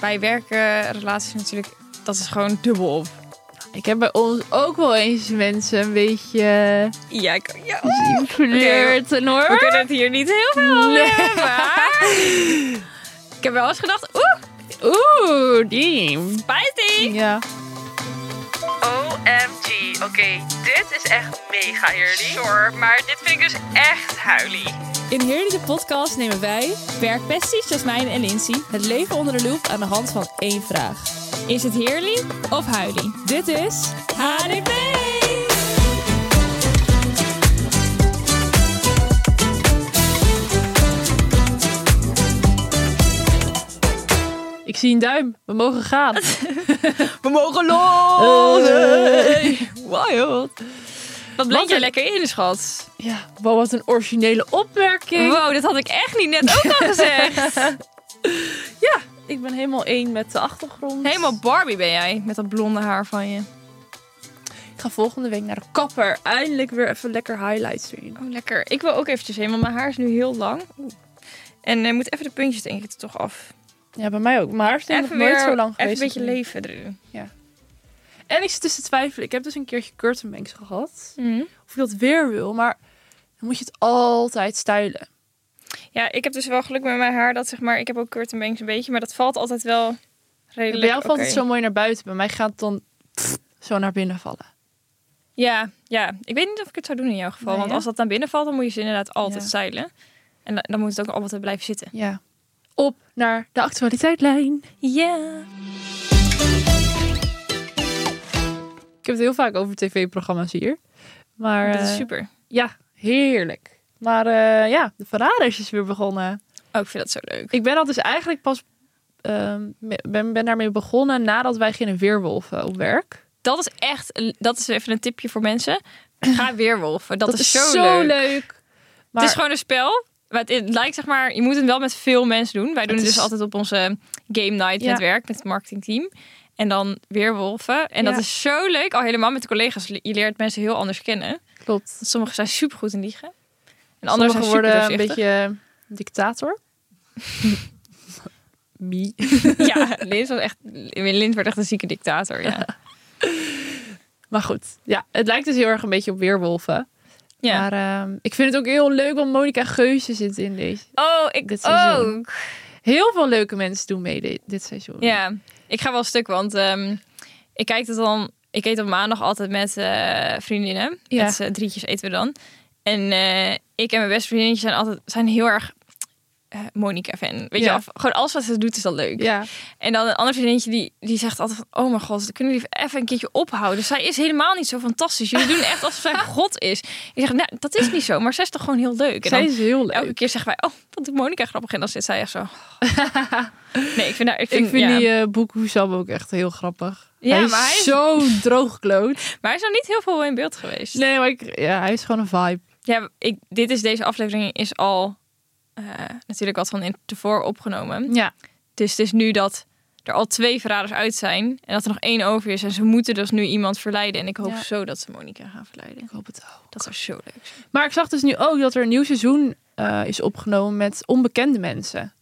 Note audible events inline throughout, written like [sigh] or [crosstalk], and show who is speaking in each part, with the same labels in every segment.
Speaker 1: bij werkrelaties natuurlijk, dat is gewoon dubbel op.
Speaker 2: Ik heb bij ons ook wel eens mensen een beetje
Speaker 1: Ja, ik, ja
Speaker 2: geflirt en
Speaker 1: we
Speaker 2: hoor.
Speaker 1: kunnen het hier niet heel veel over
Speaker 2: Nee.
Speaker 1: hebben, [laughs] maar Ik heb wel eens gedacht, oeh,
Speaker 2: Oeh, die.
Speaker 1: spicy!
Speaker 2: Ja.
Speaker 3: OMG. Oké, dit is echt mega heerlijk. Sure, maar dit vind ik dus echt huilie.
Speaker 4: In Heerlijke Podcast nemen wij, werkpesties Jasmijn en Lindsay, het leven onder de loep aan de hand van één vraag. Is het heerlijk of huilie? Dit is HDP!
Speaker 2: Ik zie een duim. We mogen
Speaker 4: [laughs]
Speaker 2: gaan.
Speaker 1: We mogen
Speaker 2: Oh,
Speaker 4: Oh,
Speaker 1: los!
Speaker 2: Wild.
Speaker 1: Wat bleek
Speaker 2: Wat
Speaker 1: je
Speaker 2: een-
Speaker 1: lekker in, schat?
Speaker 2: Ja, wow, wat een originele opmerking.
Speaker 1: Wow, dit had ik echt niet net ook al gezegd.
Speaker 2: Oh. Ik ben helemaal één met de
Speaker 1: [laughs]
Speaker 2: achtergrond.
Speaker 1: Helemaal Barbie ben jij, met dat blonde haar van je.
Speaker 2: Ik ga volgende week naar de kapper. Eindelijk weer even lekker highlights doen.
Speaker 1: Oh, lekker. Ik wil ook eventjes heen, want mijn haar is nu heel lang. Oeh. En eh moet even de puntjes denk ik er toch af.
Speaker 2: Ja, bij mij ook. Maar haar is nog
Speaker 1: Even
Speaker 2: nooit
Speaker 1: weer
Speaker 2: zo lang
Speaker 1: even
Speaker 2: geweest.
Speaker 1: een beetje
Speaker 2: als nu.
Speaker 1: leven erin.
Speaker 2: En ik zit dus te twijfelen. Ik heb dus een keertje curtain bangs gehad.
Speaker 1: Mhm.
Speaker 2: Of ik dat weer wil, maar dan moet je het altijd stylen.
Speaker 1: Ja, ik heb dus wel geluk met mijn haar dat zeg maar, ik heb ook curtain bangs een beetje, maar dat valt altijd wel redelijk.
Speaker 2: bij jou valt
Speaker 1: oké.
Speaker 2: het zo mooi naar buiten. Bij mij gaat het dan pff, zo naar binnen vallen.
Speaker 1: Ja, ja. Ik weet niet of ik het zou doen in jouw geval,
Speaker 2: Nee,
Speaker 1: want
Speaker 2: hè?
Speaker 1: als dat naar binnen valt, dan moet je ze inderdaad altijd
Speaker 2: Ja.
Speaker 1: zeilen. En dan, dan moet het ook altijd blijven zitten.
Speaker 2: Ja. Op naar de actualiteitlijn.
Speaker 1: Ja.
Speaker 2: Ik heb het heel vaak over tv-programma's hier. Maar
Speaker 1: Dat is
Speaker 2: eh,
Speaker 1: super.
Speaker 2: ja, heerlijk. Maar eh, ja, de Verraders is weer begonnen.
Speaker 1: Oh, ik vind dat zo leuk.
Speaker 2: Ik ben dat dus eigenlijk pas. ehm, me- ben, ben daarmee begonnen nadat wij gingen weerwolven op werk.
Speaker 1: Dat is echt, een- dat is even een tipje voor
Speaker 2: [clears throat]
Speaker 1: mensen. Ga weerwolven. Dat, is, zo, leuk.
Speaker 2: Maar
Speaker 1: Het is gewoon een spel. Maar het, het lijkt zeg maar, je moet het wel met veel mensen doen. Wij doen het,
Speaker 2: Het
Speaker 1: dus
Speaker 2: is-
Speaker 1: altijd op onze game night
Speaker 2: Ja.
Speaker 1: met werk, met het marketingteam. En dan weerwolven. En dat
Speaker 2: Ja.
Speaker 1: is zo leuk. Al helemaal met de collega's. Je leert mensen heel anders kennen.
Speaker 2: klopt.
Speaker 1: Want sommigen zijn supergoed in liegen. En anderen
Speaker 2: Anderen
Speaker 1: zijn
Speaker 2: worden
Speaker 1: super
Speaker 2: een beetje eh, dictator.
Speaker 1: [laughs]
Speaker 2: Me.
Speaker 1: [laughs] Ja, Lint, was echt, Lint werd echt een zieke dictator. Ja.
Speaker 2: [laughs] Maar goed, ja, het lijkt dus heel erg een beetje op weerwolven.
Speaker 1: ja.
Speaker 2: Maar ehm, ik vind het ook heel leuk, want Monica Geuze zit in deze.
Speaker 1: oh, ik
Speaker 2: dit seizoen.
Speaker 1: ook.
Speaker 2: Heel veel leuke mensen doen mee dit, dit seizoen.
Speaker 1: Ja, ik ga wel stuk, want ehm, ik kijk het dan. Ik eet op maandag altijd met eh, vriendinnen.
Speaker 2: Ja.
Speaker 1: Met z'n drietjes eten we dan. En eh, ik en mijn beste vriendinnetjes zijn altijd zijn heel erg eh Monica-fan. Weet
Speaker 2: Ja.
Speaker 1: je, of, gewoon alles wat ze doet is al leuk.
Speaker 2: ja.
Speaker 1: En dan een ander vriendinnetje die, die zegt altijd van... Oh mijn god, kunnen jullie even een keertje ophouden? Dus Zij is helemaal niet zo fantastisch. Jullie doen echt
Speaker 2: [laughs]
Speaker 1: alsof zij god is. Ik zeg, nou, dat is niet zo. Maar zij is toch gewoon heel leuk? En
Speaker 2: Zij
Speaker 1: dan
Speaker 2: is heel leuk.
Speaker 1: elke keer zeggen wij... Oh, dat doet Monica grappig. En dan zit zij echt
Speaker 2: [laughs]
Speaker 1: zo... Nee, ik vind, haar- ik vind,
Speaker 2: Ik vind
Speaker 1: ja.
Speaker 2: die eh Boek Hoesam ook echt heel grappig.
Speaker 1: Ja,
Speaker 2: hij is
Speaker 1: maar hij is-
Speaker 2: zo [laughs] droogkloot.
Speaker 1: Maar hij is nog niet heel veel in beeld geweest.
Speaker 2: Nee, maar ik, ja, hij is gewoon een vibe.
Speaker 1: Ja, ik, dit is, deze aflevering is al eh, natuurlijk wat van in- tevoren opgenomen.
Speaker 2: Ja,
Speaker 1: Dus het is nu dat er al twee verraders uit zijn. En dat er nog één over is. En ze moeten dus nu iemand verleiden. En ik hoop
Speaker 2: Ja.
Speaker 1: zo dat ze Monica gaan verleiden.
Speaker 2: ik hoop het ook.
Speaker 1: Dat zou zo leuk zijn.
Speaker 2: Maar ik zag dus nu ook dat er een nieuw seizoen eh, is opgenomen met onbekende mensen.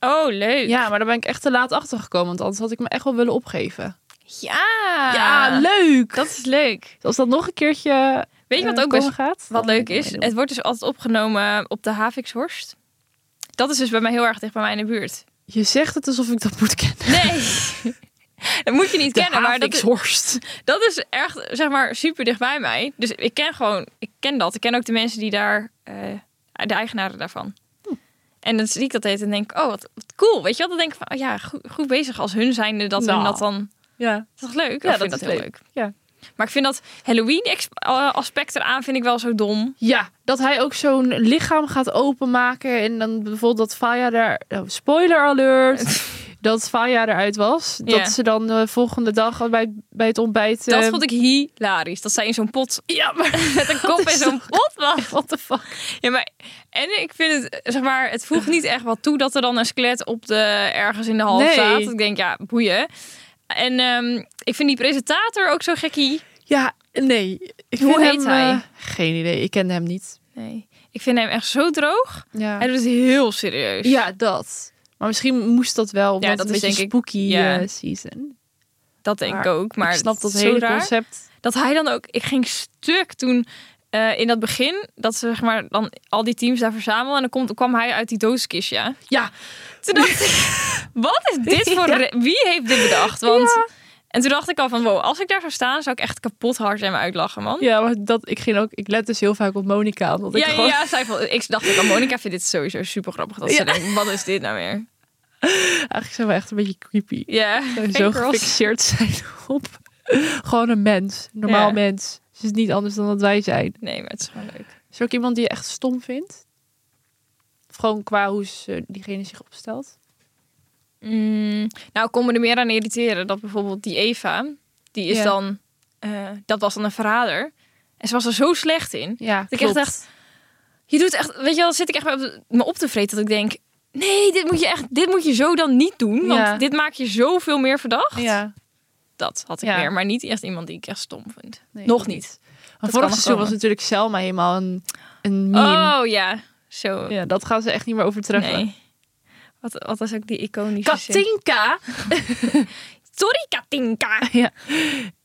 Speaker 1: Oh, leuk.
Speaker 2: Ja, maar daar ben ik echt te laat achter gekomen, want anders had ik me echt wel willen opgeven.
Speaker 1: Ja,
Speaker 2: ja, leuk!
Speaker 1: Dat is leuk.
Speaker 2: Als dat nog een keertje
Speaker 1: Weet je wat
Speaker 2: eh,
Speaker 1: ook
Speaker 2: komen
Speaker 1: best
Speaker 2: gaat,
Speaker 1: wat
Speaker 2: dan
Speaker 1: leuk
Speaker 2: wil ik
Speaker 1: is?
Speaker 2: meedoen.
Speaker 1: Het wordt dus altijd opgenomen op de Havikshorst. Dat is dus bij mij heel erg dicht bij mij in de buurt.
Speaker 2: Je zegt het alsof ik dat moet kennen.
Speaker 1: Nee. [laughs] dat moet je niet
Speaker 2: De
Speaker 1: kennen, maar dat is,
Speaker 2: Havikshorst.
Speaker 1: dat is echt, zeg maar, super dicht bij mij. Dus ik ken gewoon, ik ken dat. Ik ken ook de mensen die daar, eh, de eigenaren daarvan.
Speaker 2: Hm.
Speaker 1: En dan zie ik dat heet en denk, ik, oh, wat, wat cool. Weet je wel, dan denk ik van, oh ja, goed, goed bezig als hun zijnde dat
Speaker 2: Nou.
Speaker 1: hun dat dan...
Speaker 2: Ja.
Speaker 1: Dat is leuk.
Speaker 2: Ja,
Speaker 1: Ja, ik vind
Speaker 2: dat
Speaker 1: dat,
Speaker 2: is
Speaker 1: heel
Speaker 2: leuk.
Speaker 1: leuk.
Speaker 2: Ja.
Speaker 1: Maar ik vind dat Halloween ex- eh, aspect eraan vind ik wel zo dom.
Speaker 2: ja, dat hij ook zo'n lichaam gaat openmaken en dan bijvoorbeeld dat Faya daar... oh, spoiler alert!
Speaker 1: [laughs]
Speaker 2: dat Faya eruit was.
Speaker 1: Ja.
Speaker 2: Dat ze dan de volgende dag al bij, bij het ontbijt...
Speaker 1: Dat
Speaker 2: eh,
Speaker 1: vond ik hilarisch. Dat zij in zo'n pot
Speaker 2: Ja, maar
Speaker 1: [laughs] met een kop
Speaker 2: is
Speaker 1: in zo'n pot [laughs] was.
Speaker 2: what the fuck?
Speaker 1: Ja, maar en ik vind het zeg maar, het voegt niet echt wat toe dat er dan een skelet op de ergens in de hal
Speaker 2: Nee.
Speaker 1: staat. Ik denk ja, boeien. En ehm, ik vind die presentator ook zo gekkie.
Speaker 2: Ja, nee. Ik
Speaker 1: Hoe
Speaker 2: vind
Speaker 1: heet
Speaker 2: hem,
Speaker 1: hij?
Speaker 2: eh, geen idee, ik ken hem niet.
Speaker 1: Nee, ik vind hem echt zo droog.
Speaker 2: Ja,
Speaker 1: Hij doet het heel serieus.
Speaker 2: ja dat. Maar misschien moest dat wel, omdat
Speaker 1: Ja,
Speaker 2: het
Speaker 1: dat
Speaker 2: een
Speaker 1: is
Speaker 2: beetje
Speaker 1: denk ik-
Speaker 2: spooky
Speaker 1: ja.
Speaker 2: eh, season.
Speaker 1: Dat denk
Speaker 2: Maar
Speaker 1: ik ook. Maar
Speaker 2: ik snap
Speaker 1: het
Speaker 2: dat
Speaker 1: is zo
Speaker 2: hele
Speaker 1: raar.
Speaker 2: concept.
Speaker 1: Dat hij dan ook... Ik ging stuk toen eh, in dat begin... dat ze zeg maar, dan al die teams daar verzamelen... en dan komt, kwam hij uit die dooskistje. Ja.
Speaker 2: Ja,
Speaker 1: Toen [laughs] dacht ik, wat is dit voor... re- Wie heeft dit bedacht? Want... En toen dacht ik al van, wow, als ik daar zou staan... zou ik echt kapot hard zijn me uitlachen, man.
Speaker 2: ja, maar dat, ik, ging ook, ik let dus heel vaak op Monica Omdat ik
Speaker 1: Ja, ja,
Speaker 2: gewoon,
Speaker 1: ja, zij vond- ik dacht ook al, Monica vindt dit sowieso super grappig. Dat ze
Speaker 2: Ja.
Speaker 1: denkt, wat is dit nou weer?
Speaker 2: eigenlijk zijn we echt een beetje creepy.
Speaker 1: Ja,
Speaker 2: En
Speaker 1: hey,
Speaker 2: zo
Speaker 1: girls.
Speaker 2: gefixeerd zijn op [laughs] gewoon een mens. Een normaal
Speaker 1: Ja.
Speaker 2: mens. Ze is niet anders dan dat wij zijn.
Speaker 1: Nee, maar het is gewoon leuk.
Speaker 2: Is er ook iemand die je echt stom vindt? Of gewoon qua hoe ze, diegene zich opstelt?
Speaker 1: Mm, nou, ik kon me er meer aan irriteren dat bijvoorbeeld die Eva, die is
Speaker 2: Ja.
Speaker 1: dan, eh, dat was dan een verrader. En ze was er zo slecht in.
Speaker 2: Ja,
Speaker 1: ik echt dacht, Je doet echt, weet je wel, zit ik echt bij op de- me op te vreten dat ik denk, nee, dit moet je echt, dit moet je zo dan niet doen, want
Speaker 2: Ja.
Speaker 1: dit maakt je zoveel meer verdacht.
Speaker 2: Ja.
Speaker 1: Dat had ik
Speaker 2: Ja.
Speaker 1: meer, maar niet echt iemand die ik echt stom vind.
Speaker 2: Nee,
Speaker 1: Nog
Speaker 2: ik
Speaker 1: niet.
Speaker 2: Maar
Speaker 1: kan
Speaker 2: vorig
Speaker 1: nog
Speaker 2: seizoen was
Speaker 1: komen.
Speaker 2: natuurlijk Selma helemaal een, een meme.
Speaker 1: Oh ja, zo.
Speaker 2: Ja, dat gaan ze echt niet meer overtreffen.
Speaker 1: nee. Wat, wat was ook die iconische zin?
Speaker 2: Katinka!
Speaker 1: Sorry, Katinka.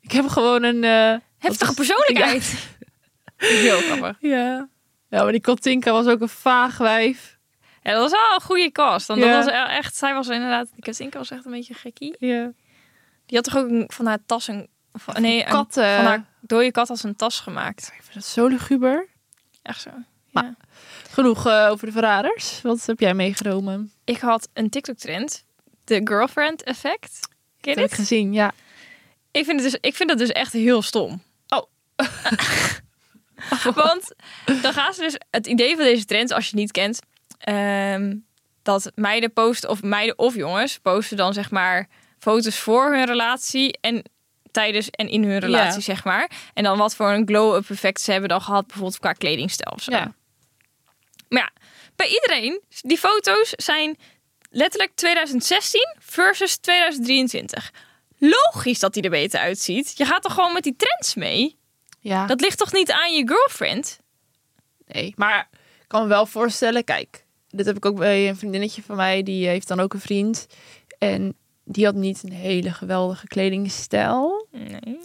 Speaker 2: Ik heb gewoon een... eh,
Speaker 1: Heftige
Speaker 2: Dat is-
Speaker 1: persoonlijkheid. [laughs] Heel grappig.
Speaker 2: ja. ja, maar die Katinka was ook een vaag wijf.
Speaker 1: Ja, dat was wel een goede cast. Want
Speaker 2: Ja.
Speaker 1: dat was wel echt, zij was inderdaad, die Katinka was echt een beetje gekkie.
Speaker 2: Ja.
Speaker 1: Die had toch ook een- van haar tas een, van, nee, een-
Speaker 2: Katten.
Speaker 1: van haar dode kat als een tas gemaakt.
Speaker 2: Ik vind dat zo luguber.
Speaker 1: Echt zo. Ja.
Speaker 2: Maar- Genoeg eh, over de verraders. Wat heb jij meegenomen?
Speaker 1: Ik had een TikTok-trend, de girlfriend effect. Ken
Speaker 2: Dat
Speaker 1: je
Speaker 2: heb ik
Speaker 1: dit?
Speaker 2: gezien, ja.
Speaker 1: Ik vind, het dus, ik vind het dus echt heel stom.
Speaker 2: Oh.
Speaker 1: [laughs] Want dan gaan ze dus... Het idee van deze trend, als je het niet kent... ehm, dat meiden posten, of meiden of jongens... posten dan zeg maar foto's voor hun relatie... en tijdens en in hun relatie, zeg maar. En dan wat voor een glow-up effect ze hebben dan gehad... bijvoorbeeld qua kledingstijl of zo.
Speaker 2: Ja.
Speaker 1: Maar ja, bij iedereen... Die foto's zijn letterlijk 2016 versus 2023 logisch dat hij er beter uitziet. Je gaat toch gewoon met die trends mee?
Speaker 2: ja.
Speaker 1: Dat ligt toch niet aan je girlfriend?
Speaker 2: Nee, maar ik kan me wel voorstellen, kijk, dit heb ik ook bij een vriendinnetje van mij, die heeft dan ook een vriend. En die had niet een hele geweldige kledingstijl.
Speaker 1: Nee.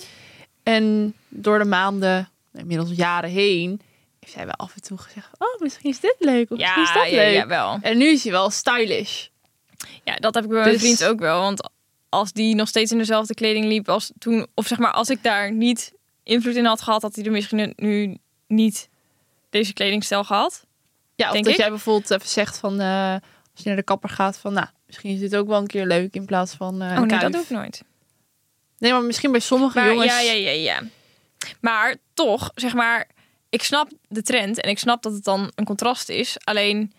Speaker 2: En door de maanden, inmiddels jaren heen, heeft hij wel af en toe gezegd, oh, misschien is dit leuk, of misschien is
Speaker 1: Ja,
Speaker 2: dat
Speaker 1: ja,
Speaker 2: leuk.
Speaker 1: ja, wel.
Speaker 2: En nu is hij wel stylish.
Speaker 1: Ja, dat heb ik bij mijn
Speaker 2: Dus-
Speaker 1: vriend ook wel. Want als die nog steeds in dezelfde kleding liep als toen... Of zeg maar, als ik daar niet invloed in had gehad... had hij er misschien nu niet deze kledingstijl gehad.
Speaker 2: Ja, of
Speaker 1: Denk
Speaker 2: dat
Speaker 1: ik.
Speaker 2: jij bijvoorbeeld even zegt van, eh, als je naar de kapper gaat, van, nou, misschien is dit ook wel een keer leuk, in plaats van eh,
Speaker 1: oh
Speaker 2: een
Speaker 1: nee, dat
Speaker 2: kuif.
Speaker 1: doe ik nooit.
Speaker 2: Nee, maar misschien bij sommige
Speaker 1: Maar,
Speaker 2: jongens...
Speaker 1: Ja, ja, ja, ja. Maar toch, zeg maar, ik snap de trend en ik snap dat het dan een contrast is. Alleen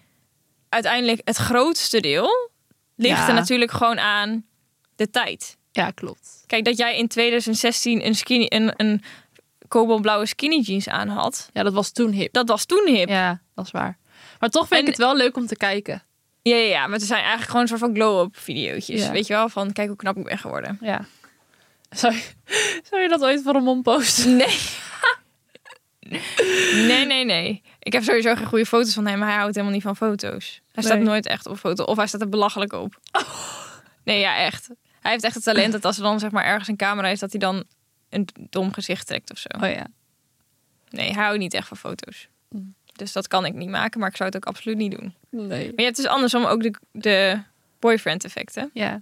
Speaker 1: uiteindelijk het grootste deel ligt
Speaker 2: Ja.
Speaker 1: er natuurlijk gewoon aan de tijd.
Speaker 2: ja, klopt.
Speaker 1: Kijk, dat jij in 2016 een, skinny, een, een kobaltblauwe skinny jeans aan had,
Speaker 2: Ja, dat was toen hip.
Speaker 1: dat was toen hip. Ja,
Speaker 2: Ja, dat is waar. Maar toch vind
Speaker 1: En-
Speaker 2: ik het wel leuk om te kijken.
Speaker 1: ja, ja, maar het zijn eigenlijk gewoon een soort van glow-up videootjes.
Speaker 2: Ja.
Speaker 1: Weet je wel, van kijk hoe knap ik ben geworden.
Speaker 2: Ja. Zou je, [laughs] zou je dat ooit voor een mom posten?
Speaker 1: [laughs] Nee. nee, nee, nee. Ik heb sowieso geen goede foto's van hem. maar Hij houdt helemaal niet van foto's. Hij staat
Speaker 2: Nee.
Speaker 1: nooit echt op foto. Of hij staat er belachelijk op. Nee, ja, echt. Hij heeft echt het talent dat als er dan zeg maar ergens een camera is... dat hij dan een dom gezicht trekt of zo.
Speaker 2: Oh ja.
Speaker 1: Nee, hij houdt niet echt van foto's. Dus dat kan ik niet maken, maar ik zou het ook absoluut niet doen. Maar
Speaker 2: Nee.
Speaker 1: je hebt dus andersom ook de, de boyfriend-effecten.
Speaker 2: Ja.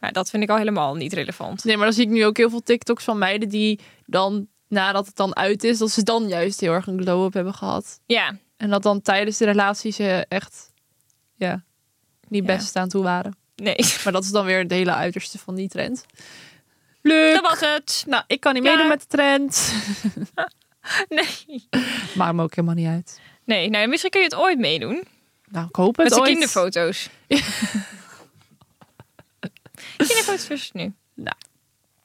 Speaker 1: Maar dat vind ik al helemaal niet relevant.
Speaker 2: Nee, maar dan zie ik nu ook heel veel TikToks van meiden die dan, nadat het dan uit is, dat ze dan juist heel erg een glow-up hebben gehad.
Speaker 1: Ja,
Speaker 2: En dat dan tijdens de relatie ze echt, ja, niet
Speaker 1: Ja.
Speaker 2: best staan toe waren.
Speaker 1: nee.
Speaker 2: Maar dat is dan weer het hele uiterste van die trend. Leuk!
Speaker 1: Dat was het.
Speaker 2: Nou, ik kan niet
Speaker 1: Klaar.
Speaker 2: meedoen met de trend. [laughs]
Speaker 1: Nee.
Speaker 2: Maakt me ook helemaal niet uit.
Speaker 1: Nee, nou, misschien kun je het ooit meedoen.
Speaker 2: Nou, ik hoop het
Speaker 1: Met de
Speaker 2: ooit.
Speaker 1: kinderfoto's. [laughs] kinderfoto's versus nu.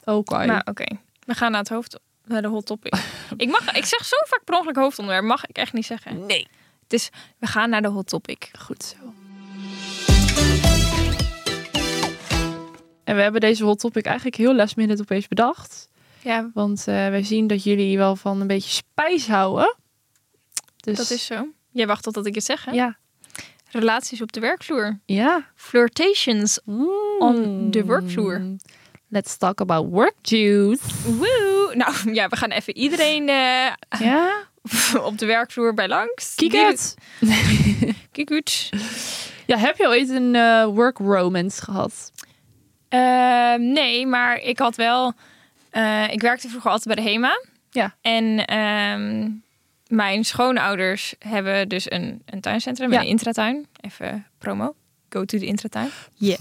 Speaker 2: Ook al.
Speaker 1: Maar oké, we gaan naar het hoofd, naar de hot
Speaker 2: [laughs]
Speaker 1: topic. ik, mag, ik zeg zo vaak per ongeluk hoofdonderwerp, mag ik echt niet zeggen.
Speaker 2: Nee.
Speaker 1: Het is, we gaan naar de hot topic.
Speaker 2: Goed zo. En we hebben deze hot topic eigenlijk heel last minute opeens bedacht.
Speaker 1: Ja,
Speaker 2: Want eh, wij zien dat jullie wel van een beetje spijs houden. Dus
Speaker 1: dat is zo. Jij wacht totdat ik het zeg, hè?
Speaker 2: Ja,
Speaker 1: Relaties op de werkvloer.
Speaker 2: Ja.
Speaker 1: Flirtations. On the workvloer.
Speaker 2: Mm. Let's talk about work juice.
Speaker 1: [laughs] Woe! Nou [laughs] ja, we gaan even iedereen eh, [laughs]
Speaker 2: Ja.
Speaker 1: op de werkvloer bij langs.
Speaker 2: Kiek
Speaker 1: Die-
Speaker 2: uit.
Speaker 1: Kiek uit.
Speaker 2: Ja, heb je ooit een eh, work romance gehad?
Speaker 1: Eh, nee, maar ik had wel. eh, ik werkte vroeger altijd bij de HEMA.
Speaker 2: Ja.
Speaker 1: En ehm, mijn schoonouders hebben dus een, een tuincentrum,
Speaker 2: Ja.
Speaker 1: een intratuin. Even promo. Go to de intratuin.
Speaker 2: Ja.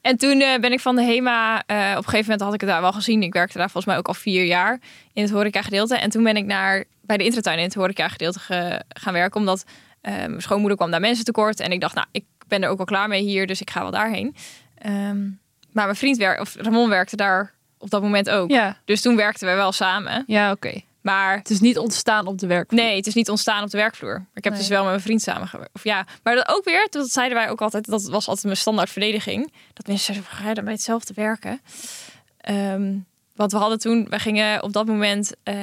Speaker 1: En toen eh, ben ik van de HEMA, eh, op een gegeven moment had ik het daar wel gezien. Ik werkte daar volgens mij ook al vier jaar in het horeca gedeelte. En toen ben ik naar, bij de intratuin in het horeca gedeelte ge- gaan werken. Omdat eh, mijn schoonmoeder kwam daar mensen tekort. En ik dacht, nou, ik ben er ook al klaar mee hier, dus ik ga wel daarheen. Ehm, maar mijn vriend, wer- of Ramon werkte daar op dat moment ook.
Speaker 2: Ja,
Speaker 1: Dus toen werkten we wel samen.
Speaker 2: ja oké.
Speaker 1: Maar
Speaker 2: Het is niet ontstaan op de werk.
Speaker 1: Nee, het is niet ontstaan op de werkvloer. Maar ik heb
Speaker 2: Nee.
Speaker 1: dus wel met mijn vriend samengewerkt. Of ja, maar dat ook weer, dat zeiden wij ook altijd, dat was altijd mijn standaard verdediging. Dat mensen zeiden, "Hoe ga je dan bij hetzelfde werken? Ehm, want we hadden toen, we gingen op dat moment, eh,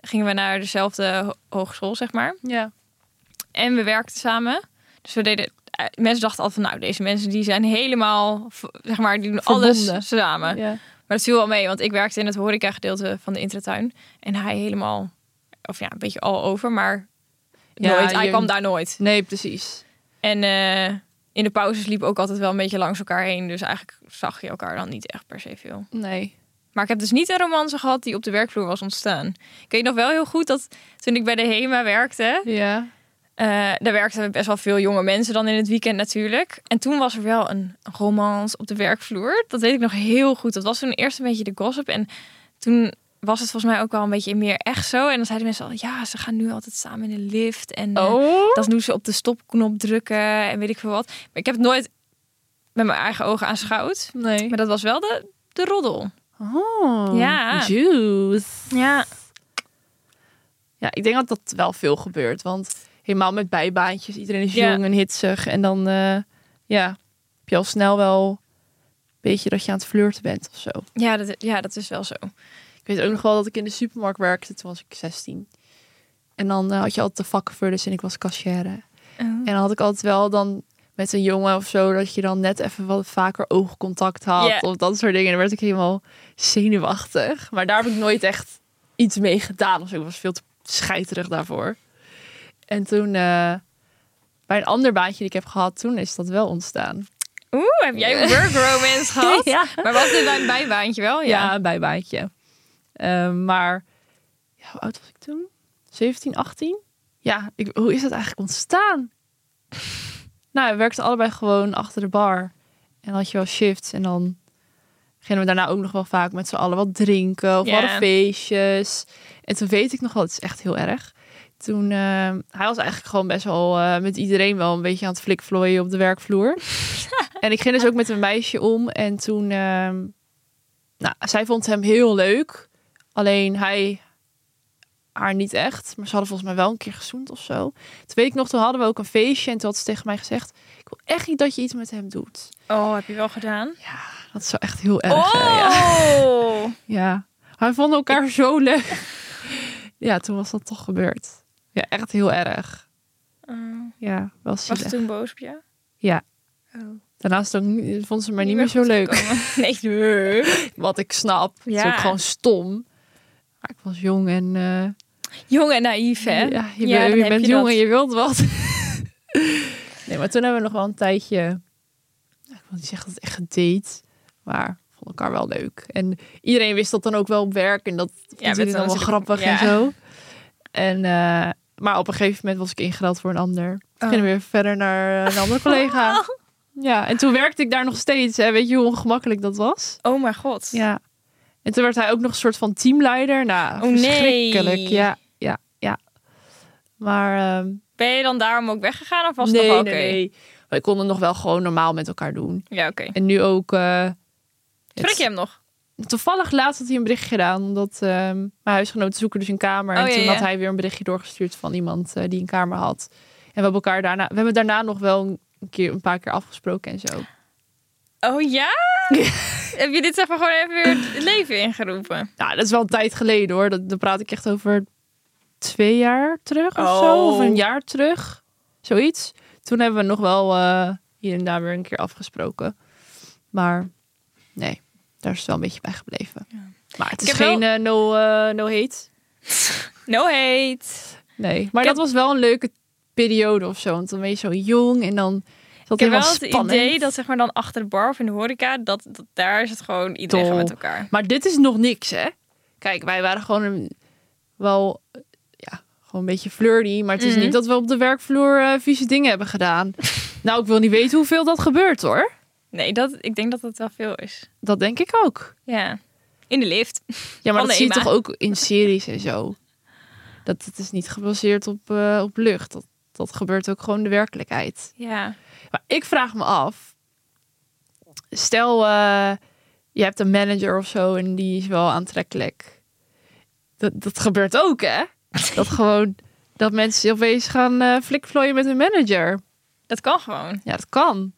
Speaker 1: gingen we naar dezelfde ho- hogeschool, zeg maar.
Speaker 2: Ja.
Speaker 1: En we werkten samen. Dus we deden, eh, mensen dachten altijd van, nou, deze mensen die zijn helemaal, v- zeg maar, die doen
Speaker 2: Verbonden.
Speaker 1: alles samen.
Speaker 2: ja.
Speaker 1: Maar dat viel wel mee, want ik werkte in het horecagedeelte van de intratuin. En hij helemaal, of ja, een beetje al over, maar
Speaker 2: Ja,
Speaker 1: nooit. Hij
Speaker 2: je-
Speaker 1: kwam daar nooit.
Speaker 2: Nee, precies.
Speaker 1: En eh, in de pauzes liepen ook altijd wel een beetje langs elkaar heen. Dus eigenlijk zag je elkaar dan niet echt per se veel.
Speaker 2: Nee.
Speaker 1: Maar ik heb dus niet een romance gehad die op de werkvloer was ontstaan. Ik weet nog wel heel goed dat toen ik bij de HEMA werkte...
Speaker 2: Ja.
Speaker 1: eh, daar werkten best wel veel jonge mensen dan in het weekend natuurlijk. En toen was er wel een romance op de werkvloer. Dat weet ik nog heel goed. Dat was toen eerst een beetje de gossip. En toen was het volgens mij ook wel een beetje meer echt zo. En dan zeiden mensen al, ja, ze gaan nu altijd samen in de lift. En eh,
Speaker 2: Oh.
Speaker 1: dat doen ze op de stopknop drukken en weet ik veel wat. Maar ik heb het nooit met mijn eigen ogen aanschouwd.
Speaker 2: Nee.
Speaker 1: Maar dat was wel de, de roddel.
Speaker 2: Oh.
Speaker 1: Ja.
Speaker 2: Juice.
Speaker 1: Ja.
Speaker 2: Ja, ik denk dat dat wel veel gebeurt. Want helemaal met bijbaantjes. Iedereen is
Speaker 1: Ja.
Speaker 2: jong en hitsig. En dan eh, ja, heb je al snel wel een beetje dat je aan het flirten bent of zo.
Speaker 1: Ja dat, ja, dat is wel zo.
Speaker 2: Ik weet ook nog wel dat ik in de supermarkt werkte. Toen was ik 16. En dan eh, had je altijd de vakkenvullers en ik was cashier. En dan had ik altijd wel dan met een jongen of zo... dat je dan net even wat vaker oogcontact had.
Speaker 1: Ja.
Speaker 2: Of dat soort dingen. Dan werd ik helemaal zenuwachtig. Maar daar heb ik nooit echt iets mee gedaan. Of zo. Ik was veel te scheiterig daarvoor. En toen... eh, bij een ander baantje die ik heb gehad, toen is dat wel ontstaan.
Speaker 1: Oeh, heb jij work
Speaker 2: [laughs]
Speaker 1: romance gehad?
Speaker 2: Ja.
Speaker 1: Maar was dit bij een bijbaantje wel?
Speaker 2: Ja,
Speaker 1: Oh Ja.
Speaker 2: een bijbaantje. Ehm, maar ja, hoe oud was ik toen? 17, 18? Ja, ik, hoe is dat eigenlijk ontstaan? nou, we werkten allebei gewoon achter de bar. En dan had je wel shifts. En dan gingen we daarna ook nog wel vaak met z'n allen wat drinken. Of
Speaker 1: Ja.
Speaker 2: hadden feestjes. En toen weet ik nog wel, het is echt heel erg. Toen, ehm, hij was eigenlijk gewoon best wel eh, met iedereen wel een beetje aan het flikvlooien op de werkvloer. en ik ging dus ook met een meisje om. En toen, ehm, nou, zij vond hem heel leuk. Alleen hij haar niet echt. Maar ze hadden volgens mij wel een keer gezoend of zo. Toen weet ik nog, toen hadden we ook een feestje. En toen had ze tegen mij gezegd... ik wil echt niet dat je iets met hem doet.
Speaker 1: Oh, heb je wel gedaan?
Speaker 2: Ja, dat zou echt heel
Speaker 1: Oh!
Speaker 2: erg eh, ja. [laughs] Oh. ja. Hij vond elkaar zo leuk. [laughs] ja, toen was dat toch gebeurd. Ja, echt heel erg.
Speaker 1: Oh,
Speaker 2: Ja, wel
Speaker 1: was ze
Speaker 2: zielig.
Speaker 1: toen boos op je?
Speaker 2: Ja.
Speaker 1: Oh.
Speaker 2: Daarnaast ook, niet- vond ze mij niet
Speaker 1: Niet
Speaker 2: meer
Speaker 1: meer
Speaker 2: zo leuk.
Speaker 1: Komen.
Speaker 2: [laughs]
Speaker 1: Nee.
Speaker 2: Wat ik snap. Het is
Speaker 1: Ja.
Speaker 2: ook gewoon stom. Maar ik was jong en... eh,
Speaker 1: Jong en naïef, hè?
Speaker 2: Ja, je,
Speaker 1: Ja,
Speaker 2: bent-
Speaker 1: dan
Speaker 2: je
Speaker 1: heb
Speaker 2: bent
Speaker 1: je
Speaker 2: jong
Speaker 1: dat.
Speaker 2: en je wilt
Speaker 1: [laughs]
Speaker 2: wat. nee, maar toen hebben we nog wel een tijdje... nou, Ik wil niet zeggen dat het echt gedate, maar we vonden elkaar wel leuk. En iedereen wist dat dan ook wel op werk en dat vond
Speaker 1: dat
Speaker 2: iedereen
Speaker 1: is
Speaker 2: dan wel
Speaker 1: natuurlijk-
Speaker 2: grappig
Speaker 1: ja.
Speaker 2: en zo. En, eh, maar op een gegeven moment was ik ingereld voor een ander.
Speaker 1: Oh.
Speaker 2: Toen gingen we weer verder naar eh, een
Speaker 1: [laughs]
Speaker 2: andere collega. Ja, en toen werkte ik daar nog steeds. Hè. Weet je hoe ongemakkelijk dat was?
Speaker 1: Oh mijn god.
Speaker 2: Ja. En toen werd hij ook nog een soort van teamleider. Nou,
Speaker 1: Oh, nee.
Speaker 2: verschrikkelijk. Ja, ja, ja. Maar ehm,
Speaker 1: Ben je dan daarom ook weggegaan of was
Speaker 2: nee,
Speaker 1: het nog wel oké?
Speaker 2: nee, nee. Wij konden nog wel gewoon normaal met elkaar doen.
Speaker 1: Ja, oké.
Speaker 2: En nu ook... eh, het-
Speaker 1: Spreek je hem nog?
Speaker 2: Toevallig laatst had hij een berichtje gedaan. Omdat ehm, mijn huisgenoten zoeken dus een kamer.
Speaker 1: Oh,
Speaker 2: en
Speaker 1: ja,
Speaker 2: toen
Speaker 1: ja.
Speaker 2: had hij weer een berichtje doorgestuurd van iemand eh, die een kamer had. En we hebben elkaar daarna... We hebben daarna nog wel een, keer, een paar keer afgesproken en zo.
Speaker 1: Oh ja? [laughs] Heb je dit even gewoon even weer het leven ingeroepen?
Speaker 2: Nou, dat is wel een tijd geleden hoor. Dat, dan praat ik echt over twee jaar terug of
Speaker 1: Oh.
Speaker 2: zo. Of een jaar terug. Zoiets. Toen Toen hebben we nog wel eh, hier en daar weer een keer afgesproken. Maar nee, daar is het wel een beetje bij gebleven. Maar het
Speaker 1: Ik
Speaker 2: is
Speaker 1: heb wel-
Speaker 2: geen eh, no, eh, no hate.
Speaker 1: No hate.
Speaker 2: Nee, maar
Speaker 1: Ik
Speaker 2: dat
Speaker 1: heb-
Speaker 2: was wel een leuke periode of zo. Want dan ben je zo jong en dan is dat
Speaker 1: Ik heb
Speaker 2: helemaal
Speaker 1: wel het
Speaker 2: spannend.
Speaker 1: idee dat zeg maar dan achter de bar of in de horeca, dat, dat daar is het gewoon iedereen
Speaker 2: Dol.
Speaker 1: gaat met elkaar.
Speaker 2: Maar dit is nog niks, hè? Kijk, wij waren gewoon een- wel, eh, ja, gewoon een beetje flirty. Maar het is
Speaker 1: Mhm.
Speaker 2: niet dat we op de werkvloer eh, vieze dingen hebben gedaan. nou, ik wil niet weten hoeveel dat gebeurt, hoor.
Speaker 1: Nee, dat, ik denk dat dat wel veel is.
Speaker 2: Dat denk ik ook.
Speaker 1: Ja. In de lift.
Speaker 2: Ja, maar
Speaker 1: Van
Speaker 2: dat zie je
Speaker 1: Ema.
Speaker 2: toch ook in series en zo. Dat het is niet gebaseerd op, eh, op lucht. Dat, dat gebeurt ook gewoon in de werkelijkheid.
Speaker 1: Ja.
Speaker 2: Maar ik vraag me af. Stel, eh, je hebt een manager of zo en die is wel aantrekkelijk. Dat, dat gebeurt ook,
Speaker 1: [laughs]
Speaker 2: hè? Dat gewoon dat mensen opeens gaan eh flikvlooien met hun manager.
Speaker 1: Dat kan gewoon.
Speaker 2: Ja, dat kan.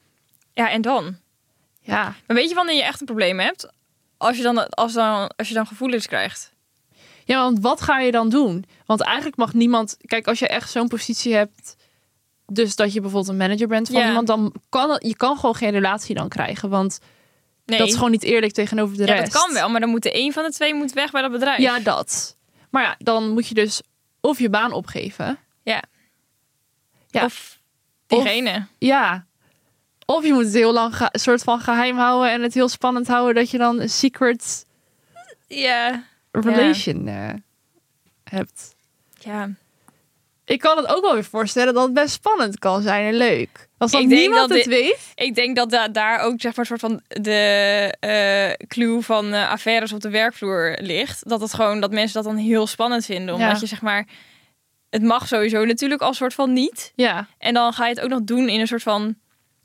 Speaker 1: Ja, en dan?
Speaker 2: Ja.
Speaker 1: Maar weet je wanneer je echt een probleem hebt? Als je dan, als dan, als je dan gevoelens krijgt.
Speaker 2: Ja, want wat ga je dan doen? Want eigenlijk mag niemand. Kijk, als je echt zo'n positie hebt. Dus dat je bijvoorbeeld een manager bent van
Speaker 1: Ja.
Speaker 2: iemand, dan kan je kan gewoon geen relatie dan krijgen. Want
Speaker 1: Nee,
Speaker 2: dat is gewoon niet eerlijk tegenover de
Speaker 1: ja, dat
Speaker 2: rest.
Speaker 1: kan wel, maar dan moet de een van de twee moet weg bij dat bedrijf.
Speaker 2: Ja, dat. Maar ja, dan moet je dus of je baan opgeven.
Speaker 1: Ja.
Speaker 2: Ja.
Speaker 1: Of diegene.
Speaker 2: Ja. Of je moet het heel lang ge- soort van geheim houden en het heel spannend houden dat je dan een secret
Speaker 1: Ja.
Speaker 2: relation eh, hebt.
Speaker 1: Ja.
Speaker 2: Ik kan het ook wel weer voorstellen dat het best spannend kan zijn en leuk. Als dan
Speaker 1: Ik denk
Speaker 2: niemand
Speaker 1: dat
Speaker 2: het
Speaker 1: dit-
Speaker 2: weet.
Speaker 1: Ik denk dat da- daar ook zeg maar, een soort van de eh, clue van eh, affaires op de werkvloer ligt. Dat het gewoon dat mensen dat dan heel spannend vinden. Omdat
Speaker 2: Ja.
Speaker 1: je zeg maar. Het mag sowieso natuurlijk als soort van niet.
Speaker 2: Ja.
Speaker 1: En dan ga je het ook nog doen in een soort van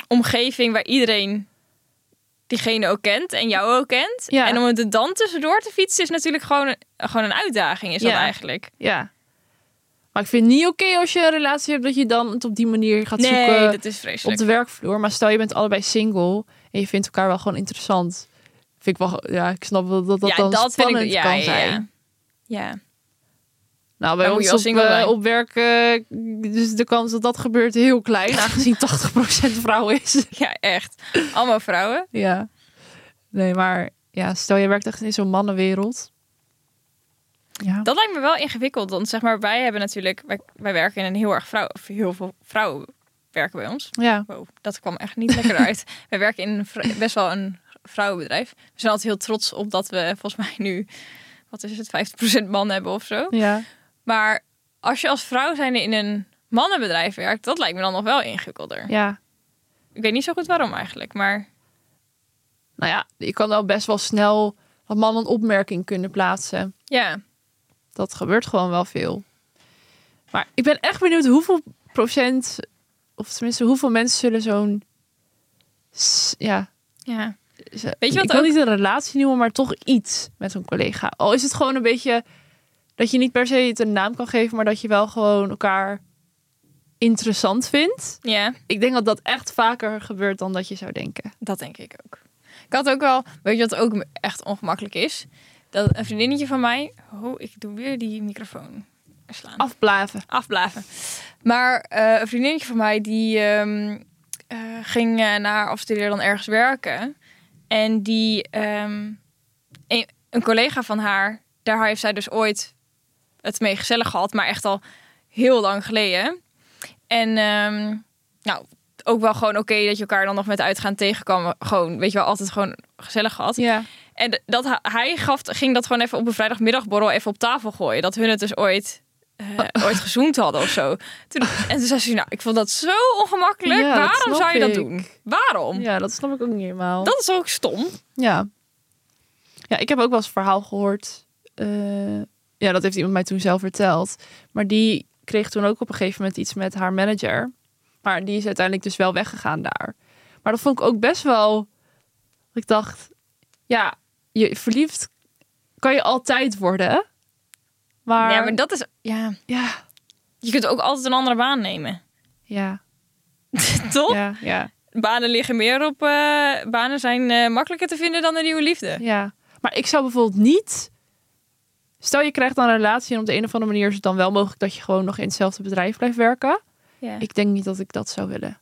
Speaker 1: omgeving waar iedereen diegene ook kent en jou ook kent.
Speaker 2: Ja.
Speaker 1: En om het er dan tussendoor te fietsen is natuurlijk gewoon een, gewoon een uitdaging, is
Speaker 2: Ja.
Speaker 1: dat eigenlijk.
Speaker 2: Ja. Maar ik vind het niet oké als je een relatie hebt dat je dan het op die manier gaat
Speaker 1: Nee,
Speaker 2: zoeken
Speaker 1: dat is
Speaker 2: op
Speaker 1: vreselijk.
Speaker 2: de werkvloer. Maar stel je bent allebei single en je vindt elkaar wel gewoon interessant. Vind ik wel, ja, ik snap wel dat dat dan spannend
Speaker 1: ja,
Speaker 2: kan
Speaker 1: ja,
Speaker 2: zijn.
Speaker 1: Ja. [laughs] ja.
Speaker 2: Nou, bij
Speaker 1: Dan moet
Speaker 2: ons
Speaker 1: je wel
Speaker 2: op,
Speaker 1: single
Speaker 2: eh,
Speaker 1: zijn.
Speaker 2: op werk, eh, dus de kans dat dat gebeurt heel klein, aangezien 80% vrouw is.
Speaker 1: [laughs] Ja, echt. Allemaal vrouwen.
Speaker 2: ja. Nee, maar ja, stel je werkt echt in zo'n mannenwereld. Ja.
Speaker 1: Dat lijkt me wel ingewikkeld, want zeg maar, wij hebben natuurlijk, wij, wij werken in een heel erg vrouw, of heel veel vrouwen werken bij ons.
Speaker 2: ja.
Speaker 1: Wow, dat kwam echt niet lekker uit. wij werken in een vrou- best wel een vrouwenbedrijf. We zijn altijd heel trots op dat we volgens mij nu, wat is het, 50% man hebben of zo.
Speaker 2: Ja.
Speaker 1: Maar als je als vrouw zijnde in een mannenbedrijf werkt, dat lijkt me dan nog wel ingewikkelder.
Speaker 2: Ja.
Speaker 1: Ik weet niet zo goed waarom eigenlijk, maar
Speaker 2: Nou ja, je kan wel best wel snel wat mannen een opmerking kunnen plaatsen.
Speaker 1: ja.
Speaker 2: dat gebeurt gewoon wel veel. Maar ik ben echt benieuwd hoeveel procent, of tenminste hoeveel mensen zullen zo'n, s- ja,
Speaker 1: ja.
Speaker 2: ze-
Speaker 1: Weet je wat
Speaker 2: ik wil
Speaker 1: ook-
Speaker 2: niet een relatie noemen, maar toch iets met een collega. Al is het gewoon een beetje dat je niet per se het een naam kan geven, maar dat je wel gewoon elkaar interessant vindt.
Speaker 1: Ja.
Speaker 2: Ik denk dat dat echt vaker gebeurt dan dat je zou denken.
Speaker 1: Dat denk ik ook. Ik had ook wel, weet je wat ook echt ongemakkelijk is? Dat een vriendinnetje van mij, oh, ik doe weer die microfoon slaan.
Speaker 2: Afblaven.
Speaker 1: Afblaven. Maar eh, een vriendinnetje van mij die ehm, eh, ging eh, na haar afstuderen dan ergens werken. En die, ehm, een, een collega van haar, daar heeft zij dus ooit het mee gezellig gehad, maar echt al heel lang geleden. En ehm, nou, ook wel gewoon oké dat je elkaar dan nog met uitgaan tegenkwam. Gewoon, weet je wel, altijd gewoon gezellig gehad.
Speaker 2: Ja.
Speaker 1: En dat hij- hij gaf, ging dat gewoon even op een vrijdagmiddagborrel even op tafel gooien. Dat hun het dus ooit, eh,
Speaker 2: Ah.
Speaker 1: ooit gezoend hadden of zo. Toen, en toen zei ze, nou, ik vond dat zo ongemakkelijk.
Speaker 2: Ja, dat
Speaker 1: Waarom
Speaker 2: snap
Speaker 1: zou je dat
Speaker 2: ik.
Speaker 1: doen? Waarom?
Speaker 2: ja, dat snap ik ook niet helemaal.
Speaker 1: Dat is ook stom.
Speaker 2: Ja. Ja, ik heb ook wel eens een verhaal gehoord. eh, ja, dat heeft iemand mij toen zelf verteld. Maar die kreeg toen ook op een gegeven moment iets met haar manager. Maar die is uiteindelijk dus wel weggegaan daar. Maar dat vond ik ook best wel... Ik dacht, ja, je verliefd kan je altijd worden. Maar
Speaker 1: Ja, maar dat is... Ja,
Speaker 2: ja,
Speaker 1: je kunt ook altijd een andere baan nemen. [laughs]
Speaker 2: ja,
Speaker 1: Toch?
Speaker 2: ja, ja,
Speaker 1: Banen liggen meer op... eh, banen zijn eh, makkelijker te vinden dan een nieuwe liefde.
Speaker 2: ja. Maar ik zou bijvoorbeeld niet... Stel je krijgt dan een relatie en op de een of andere manier is het dan wel mogelijk dat je gewoon nog in hetzelfde bedrijf blijft werken.
Speaker 1: Ja.
Speaker 2: Ik denk niet dat ik dat zou willen.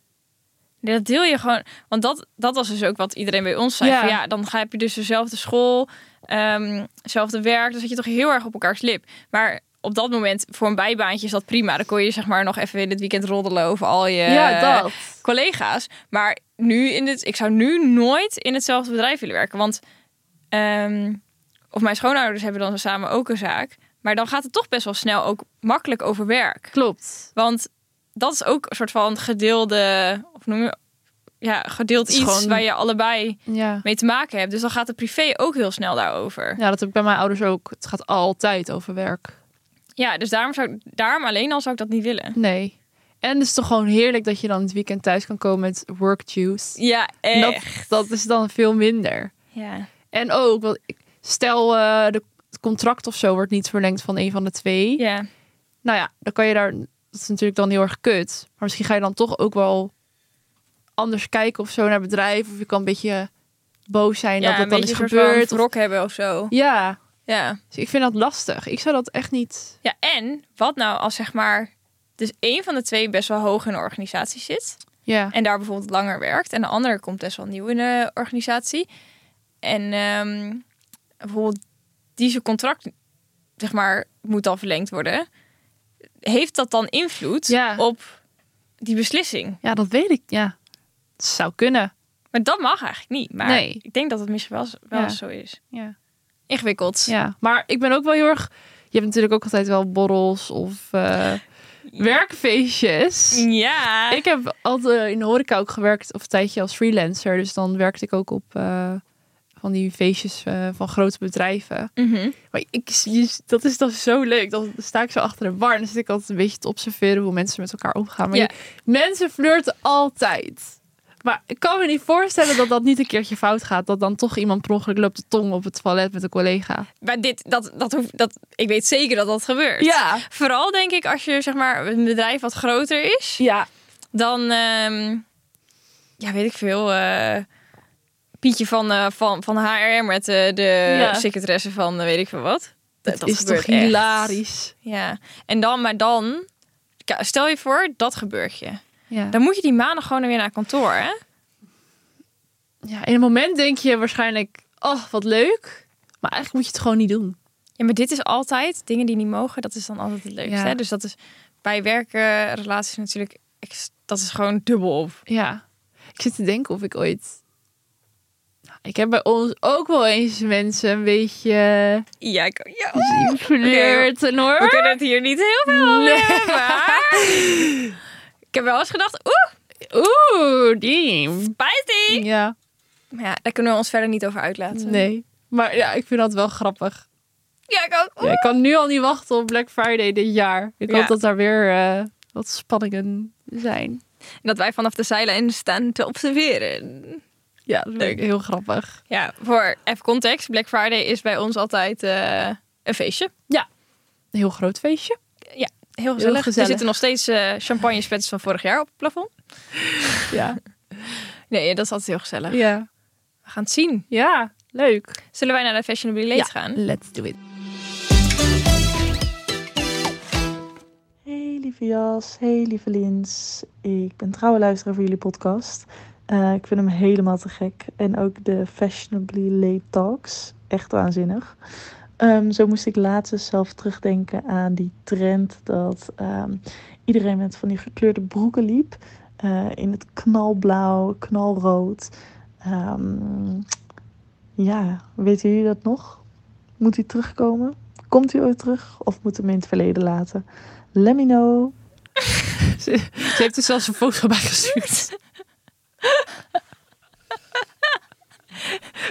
Speaker 1: Dat deel je gewoon. Want dat, dat was dus ook wat iedereen bij ons zei.
Speaker 2: Ja.
Speaker 1: Ja, van, ja dan ga, heb je dus dezelfde school, ehm zelfde werk. Dan zit je toch heel erg op elkaars lip. Maar op dat moment, voor een bijbaantje is dat prima. Dan kon je zeg maar nog even in het weekend roddelen over al je
Speaker 2: ja, dat.
Speaker 1: collega's. Maar nu in dit, ik zou nu nooit in hetzelfde bedrijf willen werken. Want ehm, of mijn schoonouders hebben dan samen ook een zaak. Maar dan gaat het toch best wel snel ook makkelijk over werk.
Speaker 2: Klopt.
Speaker 1: Want dat is ook een soort van gedeelde, of noem je, ja, gedeeld
Speaker 2: Het
Speaker 1: iets
Speaker 2: is gewoon-
Speaker 1: waar je allebei
Speaker 2: Ja.
Speaker 1: mee te maken hebt. Dus dan gaat het privé ook heel snel daarover. Ja,
Speaker 2: ja, dat heb ik bij mijn ouders ook. Het gaat altijd over werk.
Speaker 1: dus daarom, zou, ik- daarom alleen al zou ik dat niet willen.
Speaker 2: Nee. En het is toch gewoon heerlijk dat je dan het weekend thuis kan komen met work juice.
Speaker 1: Ja,
Speaker 2: En
Speaker 1: echt.
Speaker 2: dat, dat is dan veel minder.
Speaker 1: Ja.
Speaker 2: En ook, want ik- stel eh, de, het contract of zo wordt niet verlengd van een van de twee.
Speaker 1: ja,
Speaker 2: Nou ja, dan kan je daar... Dat is natuurlijk dan heel erg kut. Maar misschien ga je dan toch ook wel anders kijken of zo naar bedrijf. Of je kan een beetje boos zijn
Speaker 1: ja
Speaker 2: dat
Speaker 1: een
Speaker 2: dat dan
Speaker 1: beetje
Speaker 2: is
Speaker 1: een soort van
Speaker 2: gebeurd. Of-
Speaker 1: wrok hebben of zo.
Speaker 2: Ja,
Speaker 1: Ja.
Speaker 2: dus ik vind dat lastig. Ik zou dat echt niet...
Speaker 1: ja, en wat nou als zeg maar, dus één van de twee best wel hoog in de organisatie zit.
Speaker 2: Ja,
Speaker 1: En daar bijvoorbeeld langer werkt. En de andere komt best wel nieuw in de organisatie. En ehm, bijvoorbeeld die zijn contract, zeg maar, moet dan verlengd worden. Heeft dat dan invloed
Speaker 2: Ja.
Speaker 1: op die beslissing?
Speaker 2: ja dat weet ik. Ja, het zou kunnen.
Speaker 1: Maar dat mag eigenlijk niet. Maar
Speaker 2: Nee.
Speaker 1: ik denk dat het misschien wel, wel
Speaker 2: Ja.
Speaker 1: zo is.
Speaker 2: Ja.
Speaker 1: Ingewikkeld.
Speaker 2: Ja, maar ik ben ook wel heel erg. Je hebt natuurlijk ook altijd wel borrels of eh, werkfeestjes.
Speaker 1: Ja.
Speaker 2: Ik heb altijd in de horeca ook gewerkt of een tijdje als freelancer. Dus dan werkte ik ook op eh, van die feestjes eh, van grote bedrijven.
Speaker 1: Mhm.
Speaker 2: Maar ik, je- dat is dan zo leuk. Dan sta ik zo achter een bar en dan zit ik altijd een beetje te observeren hoe mensen met elkaar omgaan. Maar
Speaker 1: Ja.
Speaker 2: je- mensen flirten altijd. Maar ik kan me niet voorstellen dat dat niet een keertje fout gaat. Dat dan toch iemand per ongeluk loopt de tong op het toilet met een collega.
Speaker 1: Maar dit, dat, dat hoeft, dat, ik weet zeker dat dat gebeurt.
Speaker 2: Ja,
Speaker 1: Vooral denk ik als je zeg maar een bedrijf wat groter is.
Speaker 2: ja,
Speaker 1: dan ehm, ja weet ik veel eh, Pietje van, eh, van, van HR met eh, de
Speaker 2: Ja.
Speaker 1: secretaresse van eh, weet ik veel wat.
Speaker 2: Dat, is toch
Speaker 1: gebeurt echt.
Speaker 2: hilarisch.
Speaker 1: Ja. En dan, maar dan, Ka- stel je voor, dat gebeurt je.
Speaker 2: Ja.
Speaker 1: Dan moet je die maandag gewoon weer naar kantoor, hè?
Speaker 2: ja, in een moment denk je waarschijnlijk, oh, wat leuk. Maar eigenlijk moet je het gewoon niet doen.
Speaker 1: Ja, maar dit is altijd, dingen die niet mogen, dat is dan altijd het leukste.
Speaker 2: Ja.
Speaker 1: Hè? Dus dat is bij werken, relaties natuurlijk, ex- dat is gewoon dubbel op.
Speaker 2: Ja. Ik zit te denken of ik ooit... Nou, Ik heb bij ons ook wel eens mensen een beetje
Speaker 1: Ja, ik, ja
Speaker 2: geflirt en
Speaker 1: we
Speaker 2: hoor.
Speaker 1: kunnen het hier niet heel veel over
Speaker 2: Nee.
Speaker 1: hebben, maar... [laughs] Ik heb wel eens gedacht, oeh,
Speaker 2: Oeh, die.
Speaker 1: spijtig.
Speaker 2: Ja,
Speaker 1: Maar ja, daar kunnen we ons verder niet over uitlaten.
Speaker 2: nee. Maar ja, ik vind dat wel grappig.
Speaker 1: Ja, ik ook.
Speaker 2: Ja, ik kan nu al niet wachten op Black Friday dit jaar. Ik
Speaker 1: Ja.
Speaker 2: hoop dat daar weer eh, wat spanningen zijn.
Speaker 1: En Dat wij vanaf de zijlijn staan te observeren.
Speaker 2: Ja, dat vind ik heel grappig.
Speaker 1: Ja, voor even context. Black Friday is bij ons altijd eh, een feestje.
Speaker 2: Een heel groot feestje.
Speaker 1: Heel gezellig.
Speaker 2: gezellig.
Speaker 1: Er zitten nog steeds eh champagne spetters van vorig jaar op het plafond.
Speaker 2: Ja.
Speaker 1: Nee, dat is altijd heel gezellig.
Speaker 2: Ja.
Speaker 1: We gaan het zien.
Speaker 2: Ja, leuk.
Speaker 1: Zullen wij naar de Fashionably Late
Speaker 2: Ja.
Speaker 1: gaan?
Speaker 2: Let's do it.
Speaker 5: Hey lieve Jas, hey lieve Lins. Ik ben trouwe luisteraar van jullie podcast. Eh, ik vind hem helemaal te gek. En ook de Fashionably Late Talks. Echt waanzinnig. Ehm, zo moest ik laatst dus zelf terugdenken aan die trend dat ehm, iedereen met van die gekleurde broeken liep. Eh, in het knalblauw, knalrood. Ehm, ja, weten jullie dat nog? Moet hij terugkomen? Komt hij ooit terug? Of moeten we hem in het verleden laten? Let me know.
Speaker 2: Ze, ze heeft er zelfs een foto bij
Speaker 1: [laughs]
Speaker 2: gestuurd.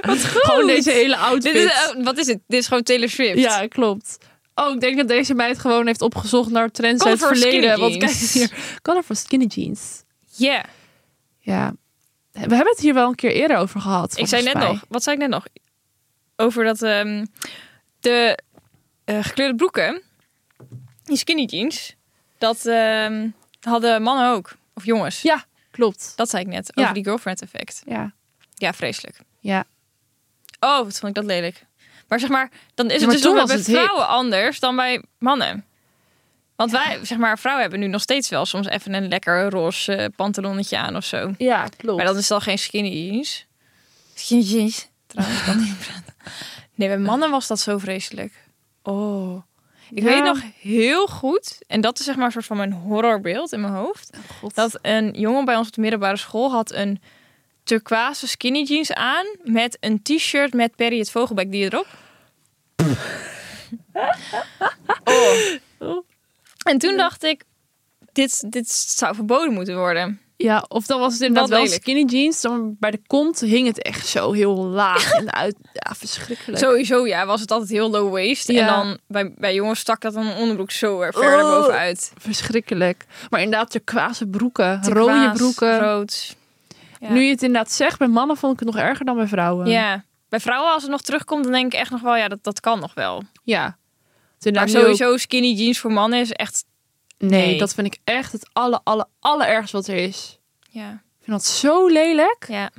Speaker 2: Wat goed. Gewoon deze hele outfit.
Speaker 1: Dit is, eh, wat is het? Dit is gewoon Taylor Swift.
Speaker 2: ja, klopt. Oh, ik denk dat deze meid gewoon heeft opgezocht naar trends uit het
Speaker 1: Colorful
Speaker 2: verleden.
Speaker 1: skinny
Speaker 2: Want kijk
Speaker 1: jeans.
Speaker 2: hier. Colorful skinny jeans.
Speaker 1: Yeah.
Speaker 2: Ja. We hebben het hier wel een keer eerder over gehad.
Speaker 1: Ik zei net
Speaker 2: volgens mij.
Speaker 1: nog, wat zei ik net nog? Over dat ehm, de eh, gekleurde broeken, die skinny jeans, dat ehm, hadden mannen ook. Of jongens.
Speaker 2: Ja, klopt.
Speaker 1: Dat zei ik net,
Speaker 2: Ja.
Speaker 1: over die girlfriend effect.
Speaker 2: Ja.
Speaker 1: Ja, vreselijk.
Speaker 2: Ja.
Speaker 1: Oh, wat vond ik dat lelijk. Maar zeg maar, dan is het
Speaker 2: maar
Speaker 1: dus
Speaker 2: toen
Speaker 1: nog wel
Speaker 2: was
Speaker 1: bij
Speaker 2: het hip.
Speaker 1: vrouwen anders dan bij mannen. Want wij, zeg maar, vrouwen hebben nu nog steeds wel soms even een lekker roze eh, pantalonnetje aan of zo.
Speaker 2: Ja, klopt.
Speaker 1: Maar dat is dan geen skinny jeans. Skinny jeans. Trouwens, ik kan niet praten. Nee, bij mannen was dat zo vreselijk. Oh. Ik
Speaker 2: Ja.
Speaker 1: weet nog heel goed, en dat is zeg maar een soort van mijn horrorbeeld in mijn hoofd. Dat een jongen bij ons op de middelbare school had een turquoise skinny jeans aan met een t-shirt met Perry het vogelbek die
Speaker 2: [laughs]
Speaker 1: erop. oh. En toen dacht ik, dit, dit zou verboden moeten worden.
Speaker 2: Ja, of dan was het inderdaad
Speaker 1: Dat
Speaker 2: wel
Speaker 1: lelijk.
Speaker 2: skinny jeans. Dan bij de kont hing het echt zo heel laag en uit. [laughs] Ja, verschrikkelijk.
Speaker 1: Sowieso, ja, was het altijd heel low waist. En
Speaker 2: Ja.
Speaker 1: dan bij, bij jongens stak dat dan een onderbroek zo er verder
Speaker 2: Oh.
Speaker 1: bovenuit.
Speaker 2: Verschrikkelijk. Maar inderdaad, turquoise broeken, rode
Speaker 1: Turquoise,
Speaker 2: broeken.
Speaker 1: Rood. Ja.
Speaker 2: Nu je het inderdaad zegt, bij mannen vond ik het nog erger dan bij vrouwen.
Speaker 1: Ja. Bij vrouwen, als het nog terugkomt, dan denk ik echt nog wel, ja, dat, dat kan nog wel.
Speaker 2: ja. Het inderdaad
Speaker 1: Maar
Speaker 2: nu ook-
Speaker 1: sowieso skinny jeans voor mannen is echt,
Speaker 2: Nee,
Speaker 1: Nee.
Speaker 2: dat vind ik echt het alle, alle, allerergste wat er is.
Speaker 1: ja.
Speaker 2: Ik vind dat zo lelijk.
Speaker 1: Ja.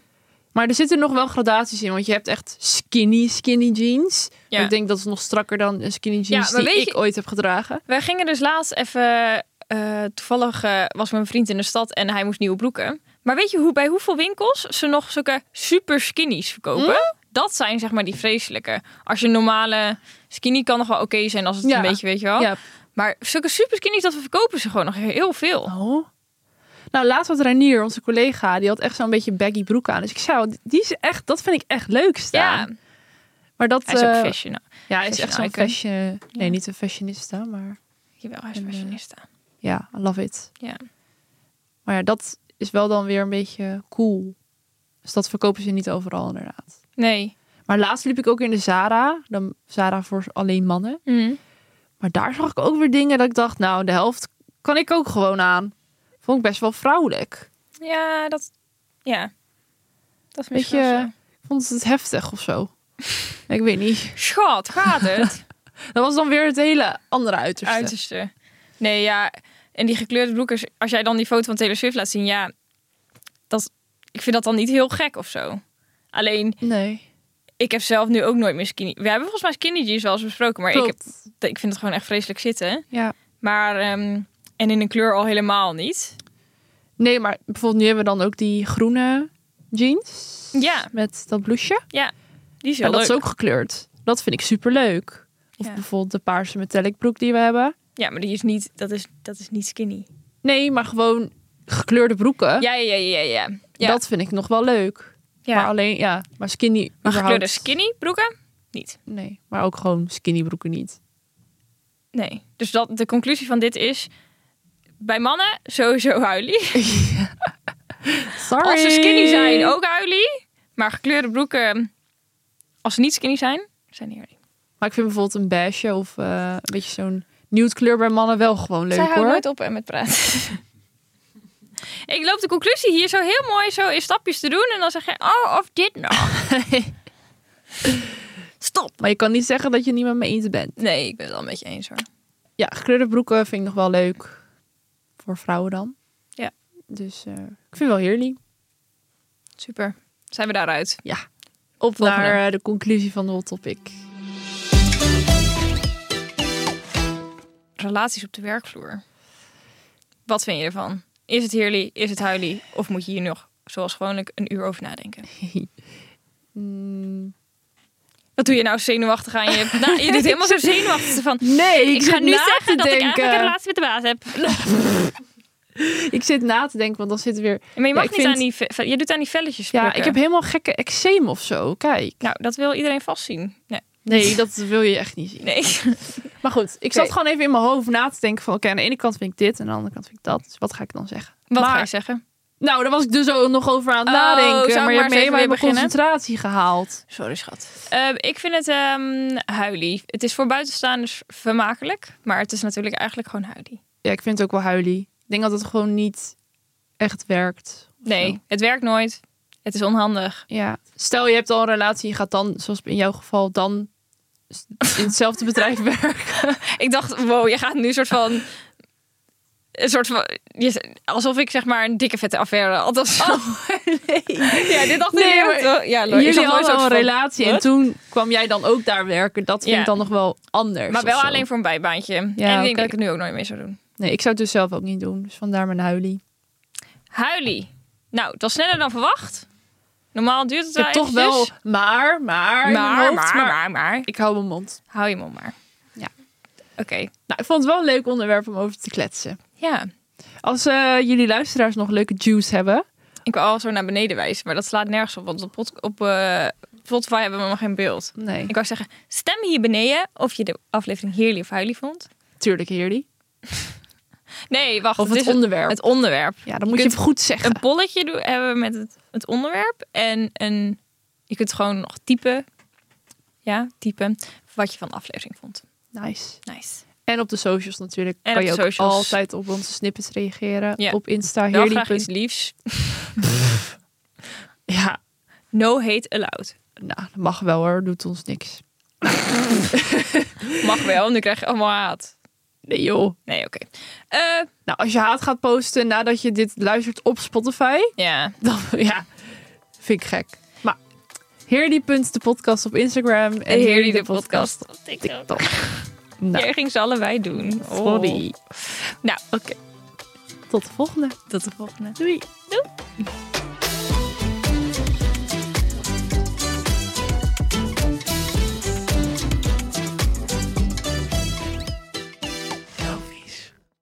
Speaker 2: Maar er zitten nog wel gradaties in. Want je hebt echt skinny, skinny jeans.
Speaker 1: Ja.
Speaker 2: Ik denk dat is nog strakker dan een skinny jeans
Speaker 1: maar
Speaker 2: die
Speaker 1: weet
Speaker 2: ik
Speaker 1: je-
Speaker 2: ooit heb gedragen.
Speaker 1: Wij gingen dus laatst even, eh, toevallig eh, was mijn vriend in de stad en hij moest nieuwe broeken. Maar weet je hoe, bij hoeveel winkels ze nog zulke super skinnies verkopen?
Speaker 2: Hm?
Speaker 1: Dat zijn zeg maar die vreselijke. Als je een normale skinny kan nog wel oké zijn als het
Speaker 2: Ja.
Speaker 1: een beetje, weet je wel.
Speaker 2: Ja.
Speaker 1: Maar zulke super skinnies, dat verkopen ze gewoon nog heel veel.
Speaker 2: Oh. Nou, laatst had Ranier, onze collega, die had echt zo'n beetje baggy broek aan. Dus ik zei, die is echt, dat vind ik echt leuk staan.
Speaker 1: Ja,
Speaker 2: Maar dat,
Speaker 1: hij is ook
Speaker 2: eh,
Speaker 1: fashion.
Speaker 2: Ja, hij is echt
Speaker 1: fashion
Speaker 2: zo'n
Speaker 1: icon.
Speaker 2: fashion... Nee, niet een fashionista, maar
Speaker 1: Jawel, hij is
Speaker 2: En, eh,
Speaker 1: fashionista.
Speaker 2: ja, I love it.
Speaker 1: Ja.
Speaker 2: Maar ja, dat is wel dan weer een beetje cool. Dus dat verkopen ze niet overal inderdaad.
Speaker 1: Nee.
Speaker 2: Maar laatst liep ik ook in de Zara. Dan Zara voor alleen mannen.
Speaker 1: Mm.
Speaker 2: Maar daar zag ik ook weer dingen dat ik dacht, nou, de helft kan ik ook gewoon aan. Vond ik best wel vrouwelijk.
Speaker 1: Ja, dat... Ja. Dat is
Speaker 2: Weet
Speaker 1: misschien wel
Speaker 2: je,
Speaker 1: zo.
Speaker 2: ik vond het heftig of zo.
Speaker 1: [laughs]
Speaker 2: ik weet niet.
Speaker 1: Schat, gaat
Speaker 2: [laughs]
Speaker 1: het?
Speaker 2: Dat was dan weer het hele andere uiterste.
Speaker 1: uiterste. Nee, ja. En die gekleurde broekers, als jij dan die foto van Taylor Swift laat zien, ja, dat, ik vind dat dan niet heel gek of zo. Alleen,
Speaker 2: Nee,
Speaker 1: ik heb zelf nu ook nooit meer skinny. We hebben volgens mij skinny jeans wel eens besproken, maar ik, heb,
Speaker 2: klopt.
Speaker 1: ik vind het gewoon echt vreselijk zitten.
Speaker 2: Ja.
Speaker 1: Maar, ehm, en in een kleur al helemaal niet.
Speaker 2: Nee, maar bijvoorbeeld nu hebben we dan ook die groene jeans.
Speaker 1: Ja.
Speaker 2: Met dat blouseje.
Speaker 1: Die is
Speaker 2: En
Speaker 1: heel
Speaker 2: dat
Speaker 1: leuk.
Speaker 2: is ook gekleurd. Dat vind ik superleuk. Of
Speaker 1: Ja.
Speaker 2: bijvoorbeeld de paarse metallic broek die we hebben.
Speaker 1: Ja, maar die is niet, dat is, dat is niet skinny.
Speaker 2: Nee, maar gewoon gekleurde broeken.
Speaker 1: Ja, ja, ja, ja, ja. Ja.
Speaker 2: Dat vind ik nog wel leuk.
Speaker 1: ja.
Speaker 2: Maar alleen, ja, maar skinny.
Speaker 1: maar
Speaker 2: überhaupt-
Speaker 1: gekleurde skinny broeken? Niet.
Speaker 2: Nee, maar ook gewoon skinny broeken niet.
Speaker 1: Nee. Dus dat, de conclusie van dit is, bij mannen sowieso huilie.
Speaker 2: Sorry.
Speaker 1: Als ze skinny zijn, oh. ook huilie. Maar gekleurde broeken, als ze niet skinny zijn, zijn die huilie.
Speaker 2: Maar ik vind bijvoorbeeld een beige of eh, een beetje zo'n nude kleur bij mannen wel gewoon leuk
Speaker 1: Zij houden
Speaker 2: hoor.
Speaker 1: nooit op eh, met praten. [laughs] Ik loop de conclusie hier zo heel mooi zo in stapjes te doen. En dan zeg je, oh, of dit nog.
Speaker 2: [laughs]
Speaker 1: Stop.
Speaker 2: Maar je kan niet zeggen dat je niet met me eens bent.
Speaker 1: Nee, ik ben het wel een beetje eens hoor.
Speaker 2: Ja, gekleurde broeken vind ik nog wel leuk. Voor vrouwen dan.
Speaker 1: Ja.
Speaker 2: Dus eh, ik vind wel heerlijk.
Speaker 1: Super. Zijn we daaruit?
Speaker 2: Op
Speaker 1: Volgende.
Speaker 2: naar eh, de conclusie van de hot topic.
Speaker 1: Relaties op de werkvloer. Wat vind je ervan? Is het heerly? Is het huilie? Of moet je hier nog, zoals gewoonlijk, een uur over nadenken?
Speaker 2: Mm.
Speaker 1: Wat doe je nou zenuwachtig aan? Je,
Speaker 2: [laughs]
Speaker 1: nou, je doet helemaal zo zenuwachtig van...
Speaker 2: Nee, ik,
Speaker 1: Ik, ga
Speaker 2: zit
Speaker 1: nu
Speaker 2: na
Speaker 1: zeggen
Speaker 2: te
Speaker 1: dat ik
Speaker 2: denken.
Speaker 1: eigenlijk een relatie met de baas heb.
Speaker 2: Ik zit na te denken, want dan zit weer...
Speaker 1: Maar je mag
Speaker 2: ik
Speaker 1: niet
Speaker 2: vind-
Speaker 1: aan die... ve- ve- Je doet aan die velletjes
Speaker 2: Ja,
Speaker 1: plukken.
Speaker 2: ik heb helemaal gekke eczeem of zo. Kijk.
Speaker 1: Nou, dat wil iedereen vastzien. Nee.
Speaker 2: Nee, dat wil je echt niet zien. [laughs]
Speaker 1: nee.
Speaker 2: Maar goed, ik zat
Speaker 1: Oké.
Speaker 2: gewoon even in mijn hoofd na te denken van... Oké, aan de ene kant vind ik dit en aan de andere kant vind ik dat. Dus wat ga ik dan zeggen?
Speaker 1: Wat
Speaker 2: Maar-
Speaker 1: ga je zeggen?
Speaker 2: Nou, daar was ik dus ook nog over aan het
Speaker 1: Oh, zou ik
Speaker 2: nadenken. Maar
Speaker 1: maar
Speaker 2: je
Speaker 1: eens
Speaker 2: hebt me
Speaker 1: even
Speaker 2: helemaal
Speaker 1: weer
Speaker 2: in mijn
Speaker 1: beginnen?
Speaker 2: concentratie gehaald.
Speaker 1: Sorry, schat. ik vind het ehm huilie. Het is voor buitenstaanders vermakelijk. Maar het is natuurlijk eigenlijk gewoon huilie.
Speaker 2: Ja, ik vind het ook wel huilie. Ik denk dat het gewoon niet echt werkt. of
Speaker 1: Nee,
Speaker 2: zo.
Speaker 1: het werkt nooit. Het is onhandig.
Speaker 2: Ja. Stel, je hebt al een relatie. Je gaat dan, zoals in jouw geval, dan
Speaker 1: [laughs]
Speaker 2: in hetzelfde bedrijf werken.
Speaker 1: Ik dacht, wow, je gaat nu een soort van... een soort van. je- Alsof ik zeg maar een dikke vette affaire had of zo.
Speaker 2: [laughs]
Speaker 1: Ja, dit dacht ik
Speaker 2: Oh, Nee,
Speaker 1: niet
Speaker 2: maar
Speaker 1: echt, hoor. Ja, Lo- ik zag
Speaker 2: Jullie
Speaker 1: nooit
Speaker 2: hadden
Speaker 1: zo'n
Speaker 2: al een
Speaker 1: van-
Speaker 2: relatie en
Speaker 1: Wat?
Speaker 2: toen kwam jij dan ook daar werken. Dat vind
Speaker 1: Ja.
Speaker 2: ik dan nog wel anders.
Speaker 1: Maar
Speaker 2: of
Speaker 1: wel
Speaker 2: zo.
Speaker 1: alleen voor een bijbaantje. en ik
Speaker 2: oké.
Speaker 1: denk dat ik het nu ook nooit meer zou doen.
Speaker 2: Nee, ik zou het dus zelf ook niet doen. Dus vandaar mijn huilie.
Speaker 1: Huilie. Nou, dat was sneller dan verwacht. Normaal duurt het
Speaker 2: Ik heb toch wel,
Speaker 1: Nou, eventjes.
Speaker 2: maar, maar, in mijn
Speaker 1: Maar,
Speaker 2: hoofd,
Speaker 1: maar, maar, maar.
Speaker 2: Ik hou mijn mond.
Speaker 1: Hou je mond maar.
Speaker 2: Ja.
Speaker 1: Oké.
Speaker 2: Nou, ik vond het wel een leuk onderwerp om over te kletsen.
Speaker 1: Ja.
Speaker 2: Als eh, jullie luisteraars nog leuke juice hebben.
Speaker 1: Ik wil al zo naar beneden wijzen, maar dat slaat nergens op. Want op, pod- op eh, Spotify hebben we nog geen beeld.
Speaker 2: Nee,
Speaker 1: Ik wou zeggen, stem hier beneden of je de aflevering heerlijk of huilie vond.
Speaker 2: tuurlijk jullie.
Speaker 1: Nee, wacht.
Speaker 2: Of het
Speaker 1: is
Speaker 2: onderwerp.
Speaker 1: het onderwerp.
Speaker 2: Ja, dan moet
Speaker 1: Je
Speaker 2: je,
Speaker 1: kunt
Speaker 2: het goed zeggen.
Speaker 1: Een bolletje doen, hebben we met het, het onderwerp. En een, je kunt gewoon nog typen. Ja, typen. Wat je van de aflevering vond.
Speaker 2: Nice.
Speaker 1: Nice.
Speaker 2: En op de socials natuurlijk.
Speaker 1: En
Speaker 2: kan
Speaker 1: op
Speaker 2: je
Speaker 1: de
Speaker 2: ook
Speaker 1: socials.
Speaker 2: altijd op onze snippets reageren.
Speaker 1: Ja.
Speaker 2: Op Insta.
Speaker 1: Wel
Speaker 2: Heerly.
Speaker 1: graag iets liefs.
Speaker 2: Ja,
Speaker 1: No hate allowed.
Speaker 2: nou, dat mag wel hoor. Doet ons niks.
Speaker 1: Mag wel, nu krijg je allemaal haat.
Speaker 2: Nee joh.
Speaker 1: Nee, oké. Eh,
Speaker 2: Nou, als je haat gaat posten nadat je dit luistert op Spotify.
Speaker 1: ja,
Speaker 2: Dan, [laughs] ja, vind ik gek. Maar de podcast op Instagram. En
Speaker 1: heerly
Speaker 2: Heerly
Speaker 1: de podcast op TikTok.
Speaker 2: TikTok. Nou,
Speaker 1: Jij ging ze allebei doen. Oh.
Speaker 2: sorry.
Speaker 1: Nou,
Speaker 2: Tot de volgende.
Speaker 1: tot de volgende.
Speaker 2: Doei.